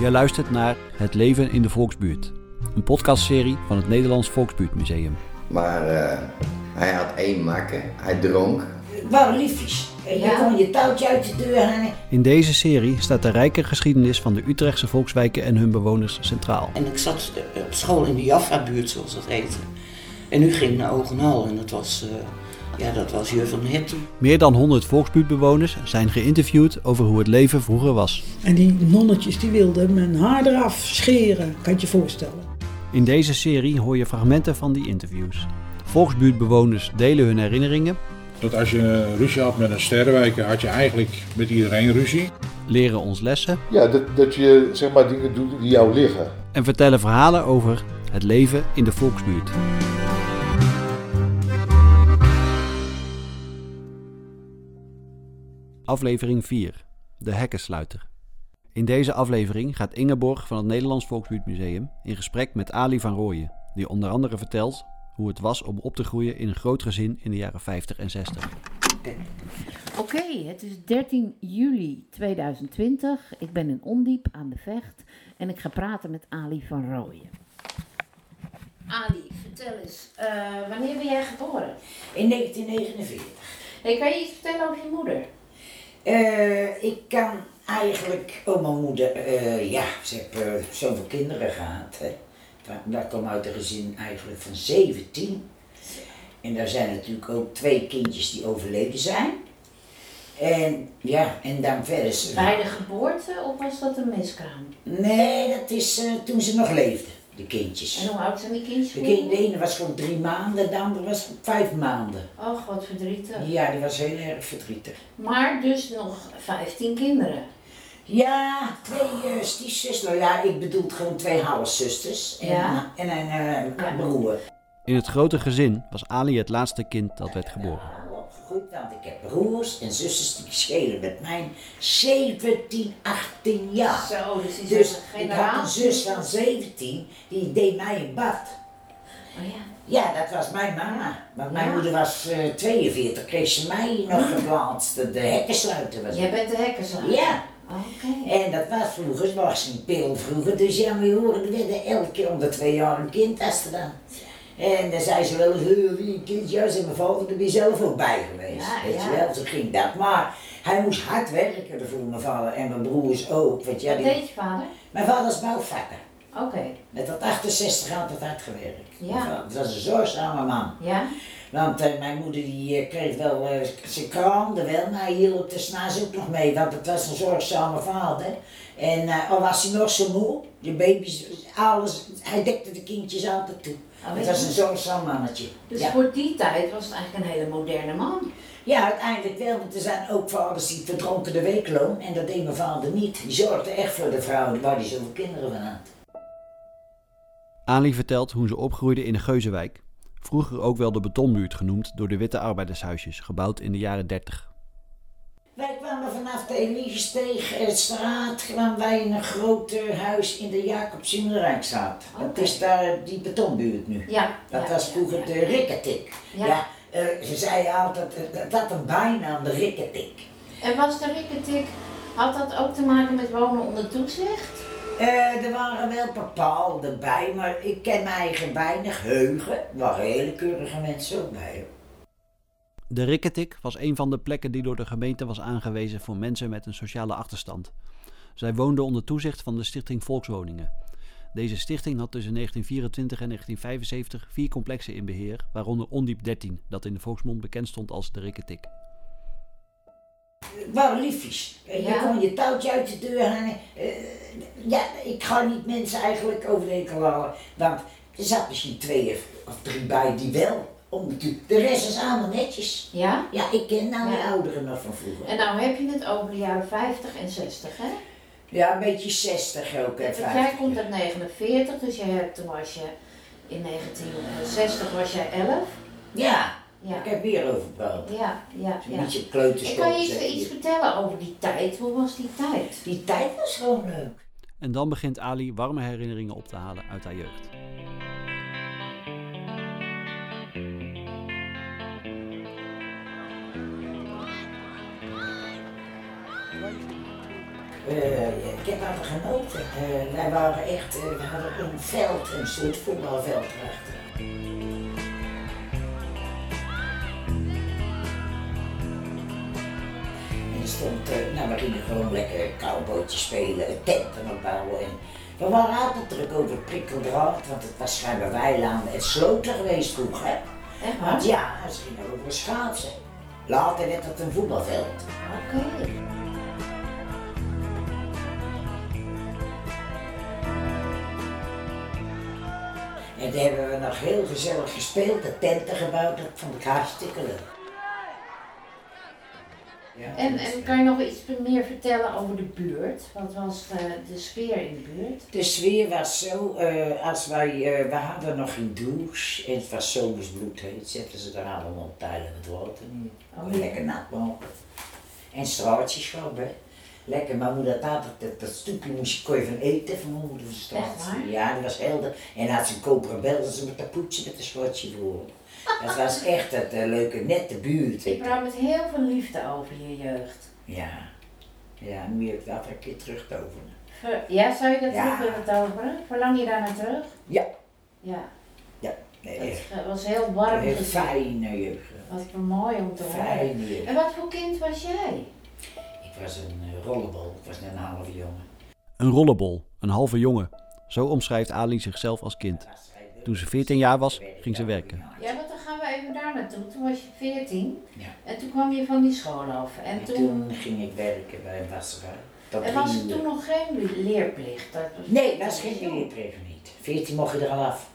Jij luistert naar Het leven in de volksbuurt. Een podcastserie van het Nederlands Volksbuurtmuseum. Maar eh, hij had één makker. Hij dronk. Wou liefjes. Je Ja. kon je touwtje uit de deur hangen. In deze serie staat de rijke geschiedenis van de Utrechtse volkswijken en hun bewoners centraal. En ik zat eh, op school in de Jaffa-buurt, zoals dat heette. En nu ging ik naar Ogenhal en dat was, eh, ja, dat was Jur van Hertog. Meer dan 100 volksbuurtbewoners zijn geïnterviewd over hoe het leven vroeger was. En die nonnetjes die wilden mijn haar eraf scheren, kan je je voorstellen. In deze serie hoor je fragmenten van die interviews. Volksbuurtbewoners delen hun herinneringen, Dat als je ruzie had met een sterrenwijker, had je eigenlijk met iedereen ruzie. leren ons lessen Ja, dat, dat je zeg maar dingen doet die jou liggen. en vertellen verhalen over het leven in de volksbuurt. Aflevering 4. De hekkensluiter. In deze aflevering gaat Ingeborg van het Nederlands Volksbuurtmuseum in gesprek met Ali van Rooyen, die onder andere vertelt hoe het was om op te groeien in een groot gezin in de jaren 50 en 60. Oké, het is 13 juli 2020. Ik ben in Ondiep aan de Vecht en ik ga praten met Ali van Rooyen. Ali, vertel eens, eh, wanneer ben jij geboren? In 1949. Ik kan je iets vertellen over je moeder? Eh, ik kan eigenlijk... Oh, mijn moeder. eh, ja, ze heeft eh, zoveel kinderen gehad. Hè. Van- Dat kwam uit een gezin eigenlijk van 17. En daar zijn natuurlijk ook twee kindjes die overleden zijn. En ja, en dan verder ze... Bij de geboorte of was dat een miskraam? Nee, dat is eh, toen ze nog leefden, de kindjes. En hoe oud zijn die kindjes? De, geworden? kind, de ene was gewoon drie maanden, de andere was vijf maanden. Och, wat verdrietig. Ja, die was heel erg verdrietig. Maar dus nog 15 kinderen. Ja, twee uh, stiefzus. Nou ja, ik bedoel gewoon twee halfzusters. En, Ja. en een eh, Ja. broer. In het grote gezin was Ali het laatste kind dat werd geboren. Nou, opgegroeid, want ik heb broers en zusters die schelen met mij 17, 18 jaar. Zo, dus die Dus zijn ik had een generatie. zus van 17, die deed mij een bad. Oh ja. Ja, dat was mijn mama. Want mijn Ja. moeder was eh 42, kreeg ze mij nog geplaatst. De hekken sluiten was Jij bent de hekkerslaan. Ja. Oké. En dat was vroeger, het was een pil vroeger. Dus ja, we horen, er werden elke keer om de twee jaar een kind als er dan. En dan zei ze wel eens, "Hey, wie een kind, juist en mijn vader er weer zelf ook bij geweest. Ja, weet ja. je wel, zo ging dat. Maar hij moest hard werken ervoor, mijn vader en mijn broers ook. Want ja, Wat die- deed je vader? mijn vader is bouwvakker. Oké. Met dat 68 altijd hard gewerkt. Ja. Mijn vader was een zorgzame man. Ja? Want eh, mijn moeder die eh, kreeg wel, eh, ze kraamde wel, maar hij hielp de snaas ook nog mee, want het was een zorgzame vader. En eh, al was hij nog zo moe, de baby's, alles, hij dekte de kindjes altijd toe. Oh, het ja. was een zorgzaam mannetje. Dus ja. voor die tijd was het eigenlijk een hele moderne man. ja, uiteindelijk wel, want er zijn ook vaders die verdronken de weekloon en dat deed mijn vader niet. Die zorgde echt voor de vrouw waar hij zoveel kinderen van had. Ali vertelt hoe ze opgroeide in de Geuzewijk, vroeger ook wel de betonbuurt genoemd door de witte arbeidershuisjes, gebouwd in de jaren 30. Wij kwamen vanaf de Eliessteeg eh, straat kwamen wij in een groot eh, huis in de Jacobs in de Rijksstraat. Dat Oké. is daar eh, die betonbuurt nu. Ja. Dat ja, was ja, vroeger ja. de Rikketik. Ja. Ja. eh, ze zeiden altijd, eh, dat had een bijnaam, de Rikketik. En was de rikketik, had dat ook te maken met wonen onder toezicht? Eh, er waren wel bepaalde bij, maar ik ken mij eigen weinig heugen. Er waren hele keurige mensen ook bij. hoor. De Rikketik was een van de plekken die door de gemeente was aangewezen voor mensen met een sociale achterstand. Zij woonden onder toezicht van de Stichting Volkswoningen. Deze stichting had tussen 1924 en 1975 vier complexen in beheer, waaronder Ondiep 13, dat in de volksmond bekend stond als de Rikketik. Het waren liefjes. Eh, Ja. Je kon je touwtje uit de deur hangen. Eh, ja, ik ga niet mensen eigenlijk over de enkel halen. Want er zat misschien twee of- of drie bij die wel. Om natuurlijk- de rest is allemaal netjes. Ja? Ja, ik ken nou die Ja. ouderen nog van vroeger. En nou heb je het over de jaren 50 en 60, hè? Ja, een beetje 60 ook. Hè, Want jij 50. komt uit 49, dus jij hebt, toen was je in 1960 was jij 11. Ja, Ja. ik heb weer overbouwd. Ja, ja, Een ja. beetje kleuterschool. Ik kan je zeg iets, iets vertellen over die tijd. Hoe was die tijd? Die tijd was gewoon eh, leuk. En dan begint Ali warme herinneringen op te halen uit haar jeugd. eh, ik heb daarvan genoten. Eh, wij waren echt, eh, we hadden een veld, een soort voetbalveld erachter. En er stond, eh, nou we gingen gewoon lekker cowbootje spelen, tenten opbouwen. En we waren altijd druk over het prikkeldraad, want het was schijnbaar weilanden en sloten geweest vroeger. Want Echt waar? ja, ze gingen over schaatsen. Later werd het een voetbalveld. Oké. En daar hebben we nog heel gezellig gespeeld, de tenten gebouwd, dat vond ik hartstikke leuk. Ja, En, dus- en kan je nog iets meer vertellen over de buurt? Wat was eh, de, de sfeer in de buurt? De sfeer was zo, eh, als wij, eh, we hadden nog geen douche en het was zomers bloedheet, zetten ze er allemaal pijlen met water in. Oh, ja. Lekker nat maken. En straatjes gewoon, hè. Lekker, maar moeder had altijd dat, dat stoepje moest je kon je van eten van mijn moeder van straat. Echt waar? Ja, die was helder. En had ze een koperen bel, dat ze met dat poetsen met een schortje voor. Dat was echt het eh, leuke, nette buurt. Ik praat met heel veel liefde over je jeugd. Ja, ja, nu heb ik dat een keer terug te overen. Ver- ja, zou je dat Ja. terug willen toveren? Verlang je daar naar terug? Ja, Ja, nee, dat echt. ge- was heel warm. Een gezien. fijne jeugd. Wat voor mooi om te horen. Fijne jeugd. En wat voor kind was jij? Ik was een eh, rollenbol, ik was net een halve jongen. Een rollenbol, een halve jongen. Zo omschrijft Ali zichzelf als kind. Toen ze 14 jaar was, ging ze werken. Ja, want dan gaan we even daar naartoe. Toen was je 14 Ja. en toen kwam je van die school af. En En toen, toen ging ik werken bij een wasserij. Tot en was drie er uur. toen nog geen leerplicht? Dat was- Nee, dat was geen leerplicht niet. 14 mocht je er al af.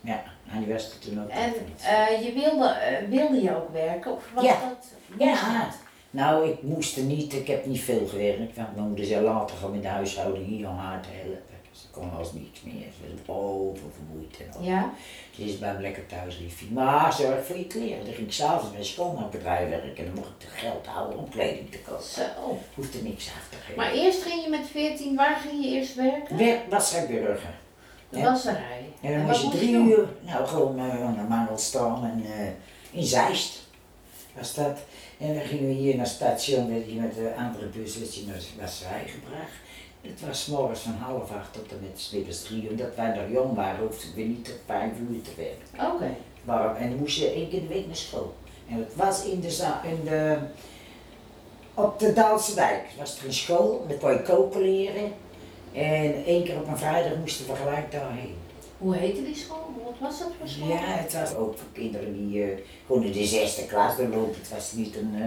Ja, en die was er toen ook En nog niet. eh, je wilde, eh, wilde je ook werken? Of was Ja. dat... Ja, nou ik moest er niet, ik heb niet veel gewerkt, want mijn moeder zei later gewoon in de huishouding hier om haar te helpen. Ze kon als niets meer, ze was oververmoeid en al. Ja? Ze is bij hem lekker thuis, liefje. Maar zorg voor je kleren. Dan ging ik s'avonds bij een schoonmaakbedrijf werken en dan mocht ik het geld houden om kleding te kopen. Zo. Hoefde niks af te geven. Maar eerst ging je met 14, waar ging je eerst werken? Werk was hij burger. De wasserij. En dan wat moest je moest drie doen? uur, nou gewoon eh, aan de Mandelstraat en eh, in Zeist was dat. En dan gingen we hier naar het station, werd je met de andere bus werd je naar de wasserij gebracht. Het was 's morgens van half acht tot en met middags drie uur. Omdat wij nog jong waren, hoefden we niet tot vijf uur te werken. Oké. warm en dan moest je één keer in de week naar school. En het was in de, za- in de op de Daalse dijk was er een school, en daar kon je koken leren. En één keer op een vrijdag moesten we gelijk daarheen. Hoe heette die school? Wat was dat voor school? Ja, het was ook voor kinderen die eh, gewoon in de zesde klas doorlopen. Het was niet een, eh,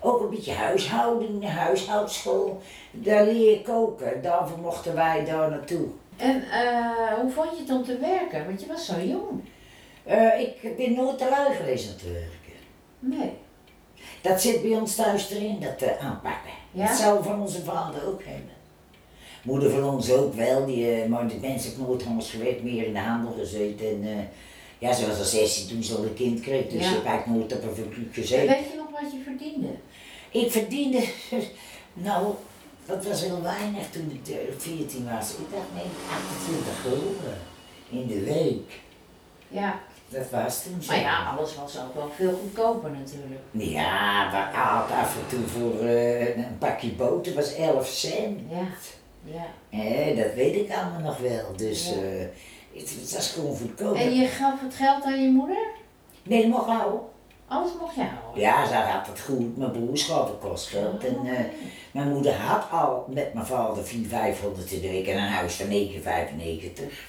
ook een beetje huishouding, een huishoudschool. Daar leer je koken, daarvoor mochten wij daar naartoe. En eh, hoe vond je het om te werken? Want je was zo jong. Eh, ik ben nooit te lui geweest om te werken. Nee. Dat zit bij ons thuis erin, dat eh, aanpakken. Ja? Dat zou van onze vader ook hebben. Moeder van ons ook wel, die, eh maar de mensen heeft nooit anders gewerkt, meer in de handel gezeten. En, eh, ja, ze was al 16 toen ze al een kind kreeg, dus Ja. ik heb eigenlijk nooit op een fabriek En gezeten. weet je nog wat je verdiende? Ik verdiende, nou, dat was heel weinig toen ik eh, 14 was. Ik dacht, nee, 28 gulden in de week. Ja. Dat was toen zo. Maar ja, alles was ook wel veel goedkoper natuurlijk. Ja, we aten af en toe voor eh, een pakje boter, was 11 cent. Ja. Ja. Hé, dat weet ik allemaal nog wel. Dus Ja. eh, het, het was gewoon goedkoop. En je gaf het geld aan je moeder? Nee, dat mocht houden. Alles mocht je houden? Ja, ze had het goed. Mijn broer schouder kost geld. En eh, mijn moeder had al met mijn vader 400, 500 in de week en een huis van 995.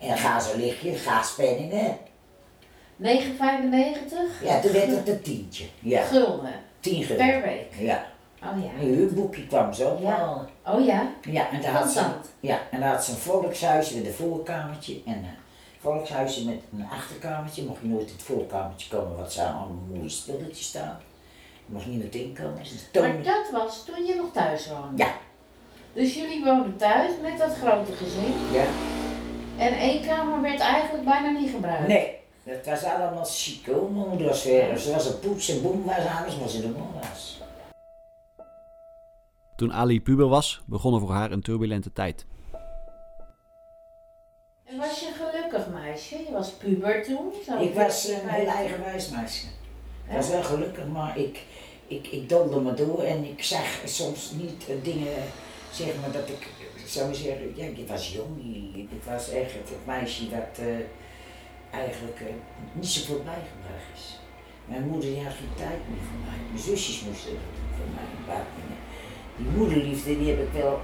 En ga zo liggen, ga spenningen. 9,95? Ja, toen werd het een tientje. Ja, Gulden. tien gulden. Per week. Ja, Oh ja. een huurboekje kwam zo. Ja. Oh ja. Ja, en daar had ze, Constant. ja, en daar had ze een volkshuisje met een voorkamertje en een volkshuisje met een achterkamertje. Mocht je nooit in het voorkamertje komen, wat ze allemaal mooie spulletjes staan. Je mocht niemand inkomen. Dus een toon- Maar dat was toen je nog thuis woonde? Ja. Dus jullie woonden thuis met dat grote gezin. Ja. En één kamer werd eigenlijk bijna niet gebruikt. Nee, dat was allemaal chic. hoor. Mijn moeder was weer, ze was een poets en boem was alles wat ze de man was. Toen Ali puber was, begon er voor haar een turbulente tijd. En was je gelukkig meisje? Je was puber toen? zo Ik was een 14, heel 15. eigenwijs meisje. Ik was wel gelukkig, maar ik, ik, ik dolde me door en ik zag soms niet eh, dingen zeg maar dat ik, eh, zou je zeggen, ja, ik was jong. Ik was echt het meisje dat eh, eigenlijk eh, niet zo voorbijgebracht is. Mijn moeder die had geen tijd meer voor mij. Mijn zusjes moesten dat doen voor mij in Wageningen. Die moederliefde die heb ik wel.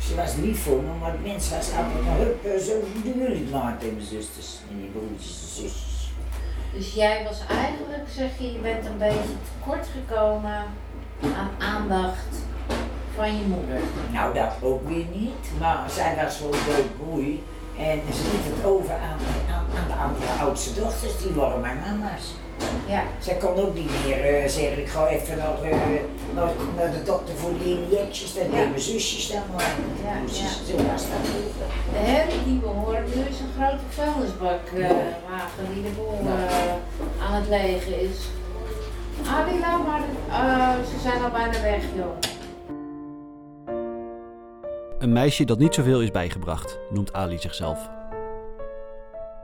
Ze was lief voor me, maar het mens was altijd van, hup, eh, zo doen jullie het maar tegen mijn zusters en die broertjes en zusjes. Dus jij was eigenlijk, zeg je, je bent een beetje tekort gekomen aan aandacht van je moeder. Nou, dat ook weer niet, maar zij was wel een leuk boei. En ze liet het over aan, aan, aan de andere oudste dochters, die waren mijn mama's. Ja. Zij kon ook niet meer eh, zeggen, ik ga even naar, eh, naar, naar de dokter voor die injecties, dat Ja. deed mijn zusjes dan maar. Ja, Zusjes, ja. Zo was dat vroeger. De herrie die we hoorden is een grote vuilnisbakwagen die de boel eh, aan het legen is. Ah, die laat maar, eh, ze zijn al bijna weg, joh. Een meisje dat niet zoveel is bijgebracht, noemt Ali zichzelf.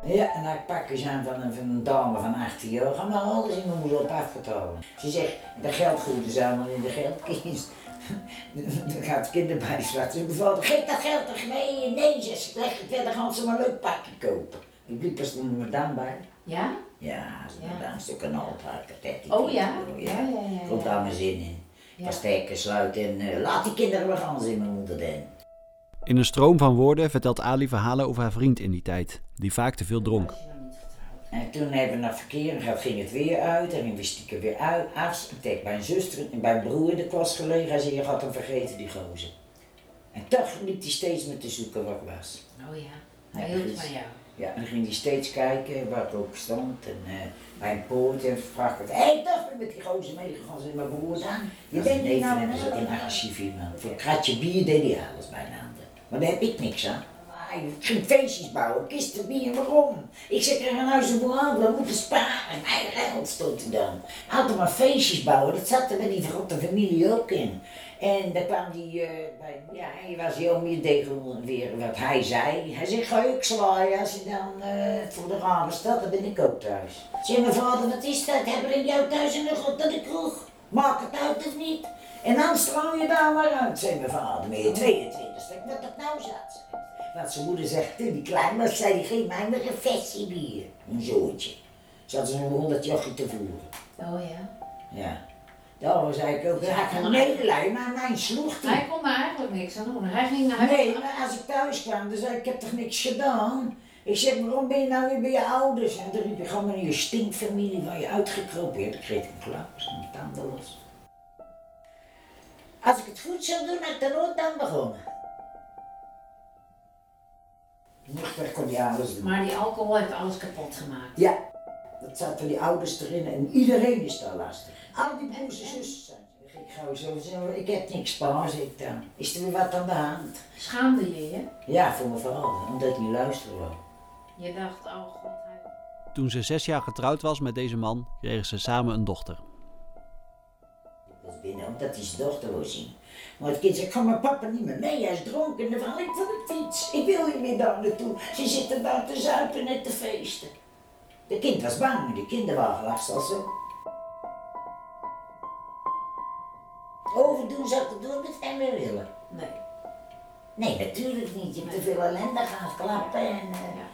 Ja, en ik pak eens aan van een, van een dame van 18 jaar. Ga maar alles in mijn moeder op afbetalen. Ze zegt, de geldgoed is allemaal in de geldkist. Dan gaat het kinderbijslag. Ze bevaalt, geef dat geld toch mee. Nee, ze zegt, ik wil dan gaan ze maar een leuk pakje kopen. Die bliep er stond me dan bij. Ja? Ja, ze Ja. ja. dan een stuk een alpakken. Oh ja? Ja, ja, ja, ja. Komt daar mijn zin in. Ja. Pastijken sluiten en eh, laat die kinderen maar gaan, in mijn moeder dan. In een stroom van woorden vertelt Ali verhalen over haar vriend in die tijd, die vaak te veel dronk. Als je En toen nog niet getrouwd. hebben we naar het verkeer en gaat- ging het weer uit en ging we stiekem weer uit. Af, ik deed mijn zuster en mijn broer in de klas gelegen. Hij zei, je had hem vergeten, die gozer. En toch liep hij steeds met te zoeken waar ik was. Oh ja, Ja, hij hield precies. van jou. Ja, en dan ging hij steeds kijken waar ik ook stond en eh, bij een poort en vraag ik, hé, hey, toch ben ik met die gozer meegegaan, zei mijn broer aan. Je bent niet nou hebben ze ook een agressief iemand. Voor een kratje bier deed hij alles bijna aan. Maar daar heb ik niks aan. Hij ging feestjes bouwen, kisten bier, waarom? Ik zeg, er gaan huis een boel aan, we moeten sparen. Hij geld stond hij dan. Hij had er maar feestjes bouwen, dat zat er met die verrotte familie ook in. En daar kwam hij eh, bij, ja, hij was heel meer tegen weer wat hij zei. Hij zegt, ga ik zwaaien als je dan eh, voor de ramen staat, dan ben ik ook thuis. Zeg, mijn vader, wat is dat? Hebben we in jou thuis een god dat de kroeg? Maakt het uit of niet? En dan straal je daar maar uit, zei mijn vader, met je 22 ste wat dat nou zat. Want zijn moeder zegt, toen die klein was, zei hij, geef mij maar een vestje bier. Een zootje. Ze hadden zo'n honderd jochie te voeren. Oh ja. Ja. Daarom zei ik ook, ja, ik had een hele lijn, maar mijn sloeg die. Hij kon er eigenlijk niks aan doen. Hij ging naar Nee, maar als ik thuis kwam, dan zei ik, ik heb toch niks gedaan? Ik zeg, waarom ben je nou weer bij je ouders? En dan riep je gewoon in je stinkfamilie waar je uitgekropen hebt. Ik kreeg een klap, mijn tanden los. Als ik het goed zou doen, had ik er nooit aan begonnen. Nog weg kon je alles doen. Maar die alcohol heeft alles kapot gemaakt. Ja, dat zaten die ouders erin en iedereen is daar lastig. Al die broers en zussen zijn. Ik ga zo zeggen, ik heb niks paas, ik dan. Is er weer wat aan de hand? Schaamde je je? Ja, voor mijn vader, omdat hij luisterde. wou. Je dacht, oh god, hij... Toen ze zes jaar getrouwd was met deze man, kregen ze samen een dochter. Ik was binnen, omdat hij zijn dochter wil zien. Maar het kind zei, ik ga met papa niet meer mee, hij is dronken. En dan val ik van de fiets, ik wil niet meer daar naartoe. Ze zitten daar te zuipen en te feesten. De kind was bang, maar de kinderwagen lag al zo. Overdoen zou ik het doen met hem en willen. Nee. Nee, natuurlijk niet. Je hebt te veel ellende gaan klappen en... eh, Ja.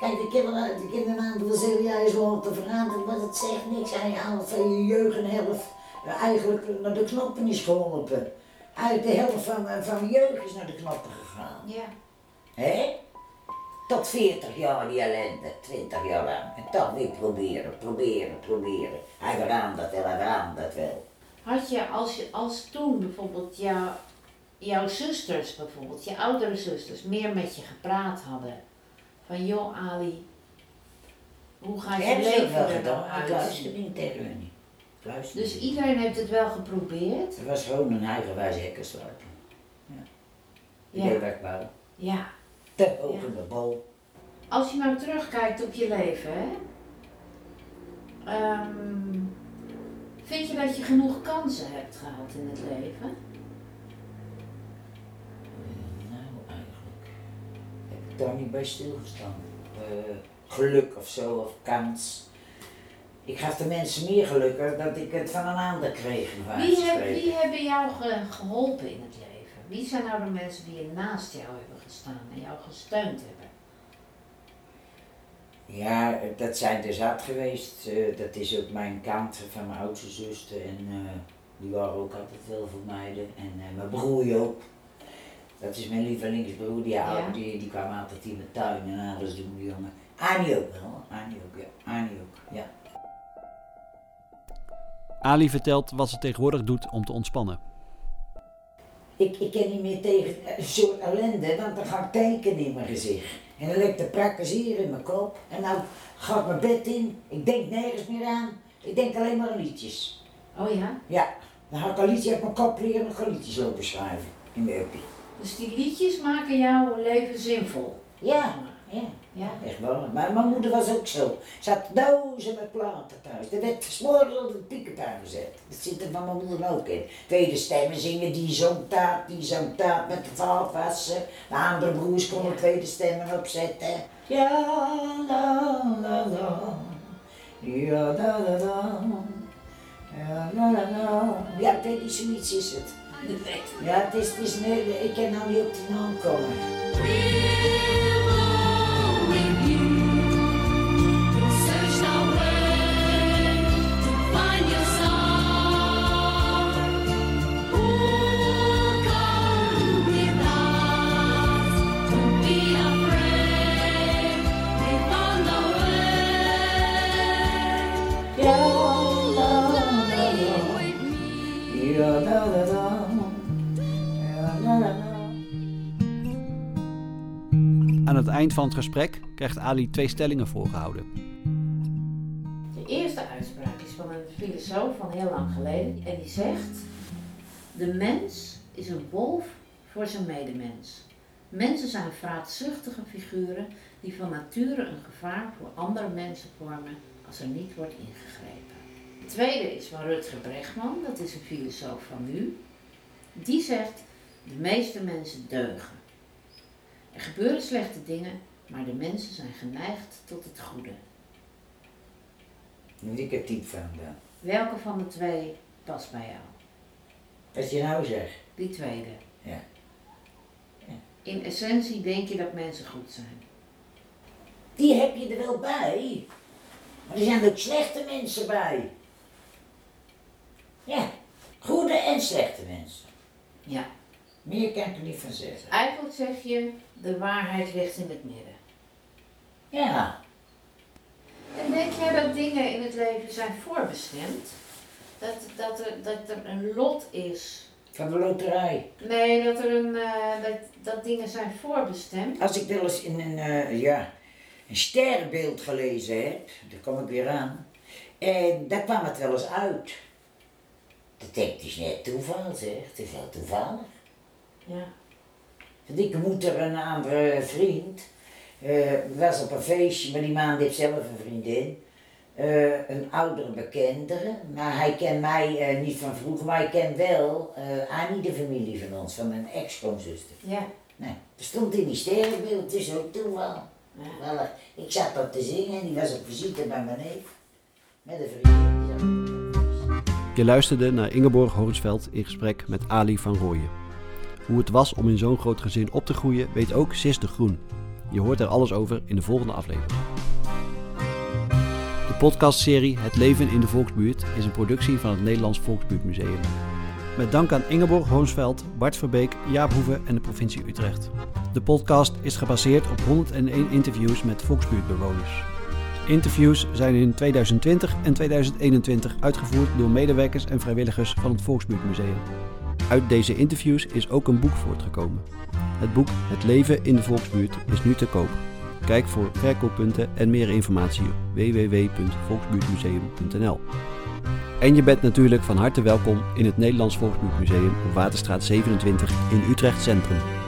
Kijk, de kinderen, de kinderen aan de Brasilia is gewoon te veranderen, maar dat zegt niks aan je helft van je jeugd en helft eh, eigenlijk naar de knoppen is geholpen. Uit de helft van, eh, van mijn jeugd is naar de knoppen gegaan. Ja. Hé? Tot 40 jaar die ellende, 20 jaar lang. En dan weer proberen, proberen, proberen. Hij verraamt dat wel, hij verraamt dat wel. Had je als, je, als toen bijvoorbeeld jou, jouw zusters, bijvoorbeeld, je oudere zusters, meer met je gepraat hadden? Van joh Ali, hoe gaat je Hebben ze ook leven wel er nou gedaan, ik luister uit? niet tegen hun. Ik luister Dus niet. iedereen heeft het wel geprobeerd? Het was gewoon een eigenwijze hekkensluiting. Ja. Die Ja. deed wegbouwen. Ja. Te hoog in de bal. Als je nou terugkijkt op je leven, hè? Ehm, vind je dat je genoeg kansen hebt gehad in het leven? Nou, eigenlijk heb ik daar niet bij stilgestaan. Eh, geluk of zo, of kans. Ik gaf de mensen meer geluk hè, dat ik het van een ander kreeg. bij wijze Wie, van heb, spreken. wie hebben jou ge- geholpen in het leven? Wie zijn nou de mensen die je naast jou hebben gestaan en jou gesteund hebben? Ja, dat zijn dus hard geweest. Eh, dat is ook mijn kant van mijn oudste zuster. En eh, die waren ook altijd wel voor mij. de- En eh, mijn broer Joop. Dat is mijn lievelingsbroer. Die, ja. Ja. die, die kwam altijd in mijn tuin en alles doen, die jongen. Arnie ook wel. Arnie ook, ja. Arnie ook, ja. Ali vertelt wat ze tegenwoordig doet om te ontspannen. Ik, ik ken niet meer tegen eh, een soort ellende, want dan ga ik tanken in mijn gezicht. En dan ligt de prakkers hier in mijn kop. En nou ga ik mijn bed in. Ik denk nergens meer aan. Ik denk alleen maar aan liedjes. Oh ja? Ja, dan had ik een liedje uit mijn kop leren en dan ga ik liedjes lopen schrijven in mijn uppie. Dus die liedjes maken jouw leven zinvol. Ja, ja, Ja? echt wel. Maar mijn moeder was ook zo. Ze had dozen met platen thuis. Er werd s'morgens op de piekentuin gezet. Dat zit er van mijn moeder ook in. Tweede stemmen zingen, die zong taart, die zong taart met de vaatwassen. De andere broers konden tweede stemmen opzetten. Ja, la, la, la. Ja, la, la, la. Ja, la, la, la. Ja, ik weet niet, zoiets is het. Ja, het is, het is een hele- ik kan nou niet op die naam komen. Ja, la, la, la. Ja, la, la, la. Aan het eind van het gesprek krijgt Ali twee stellingen voorgehouden. De eerste uitspraak is van een filosoof van heel lang geleden. En die zegt: De mens is een wolf voor zijn medemens. Mensen zijn vraatzuchtige figuren die van nature een gevaar voor andere mensen vormen als er niet wordt ingegrepen. De tweede is van Rutger Bregman, dat is een filosoof van nu. Die zegt: De meeste mensen deugen. Er gebeuren slechte dingen, maar de mensen zijn geneigd tot het goede. Moet ik er diep van dan? Welke van de twee past bij jou? Wat je nou zegt. Die tweede. Ja. Ja. In essentie denk je dat mensen goed zijn. Die heb je er wel bij. Maar er zijn ook slechte mensen bij. Ja, goede en slechte mensen. Ja. Meer kan ik er niet van zeggen. Eigenlijk zeg je, de waarheid ligt in het midden. Ja, En denk jij dat dingen in het leven zijn voorbestemd? Dat, dat, er, dat er een lot is? van de loterij. Nee, dat, er een, eh, dat, dat dingen zijn voorbestemd. Als ik wel eens in een, eh, ja, een sterrenbeeld gelezen heb, daar kom ik weer aan. En daar kwam het wel eens uit. Dat denk ik, het is net toeval zeg, het is wel toevallig. Ja. Want ik moet er een andere vriend. eh was op een feestje, maar die man heeft zelf een vriendin. Eh, een oudere bekendere. Maar hij kent mij eh, niet van vroeger, maar hij kent wel eh Annie, de familie van ons, van mijn ex-schoonzuster. Ja. Nee, dat stond in die sterrenbeeld, het is ook toeval. Ja. Wel, ik zat dat te zingen en die was op visite bij mijn neef. Met een vriendin. Die zat- Je luisterde naar Ingeborg Horensveld in gesprek met Ali van Rooyen. Hoe het was om in zo'n groot gezin op te groeien, weet ook Sis de Groen. Je hoort er alles over in de volgende aflevering. De podcastserie Het leven in de volksbuurt is een productie van het Nederlands Volksbuurtmuseum. Met dank aan Ingeborg Hornsveld, Bart Verbeek, Jaap Hoeven en de provincie Utrecht. De podcast is gebaseerd op 101 interviews met volksbuurtbewoners. Interviews zijn in 2020 en 2021 uitgevoerd door medewerkers en vrijwilligers van het Volksbuurtmuseum. Uit deze interviews is ook een boek voortgekomen. Het boek Het leven in de volksbuurt is nu te koop. Kijk voor verkooppunten en meer informatie op www.volksbuurtmuseum.nl. En je bent natuurlijk van harte welkom in het Nederlands Volksbuurtmuseum op Waterstraat 27 in Utrecht Centrum.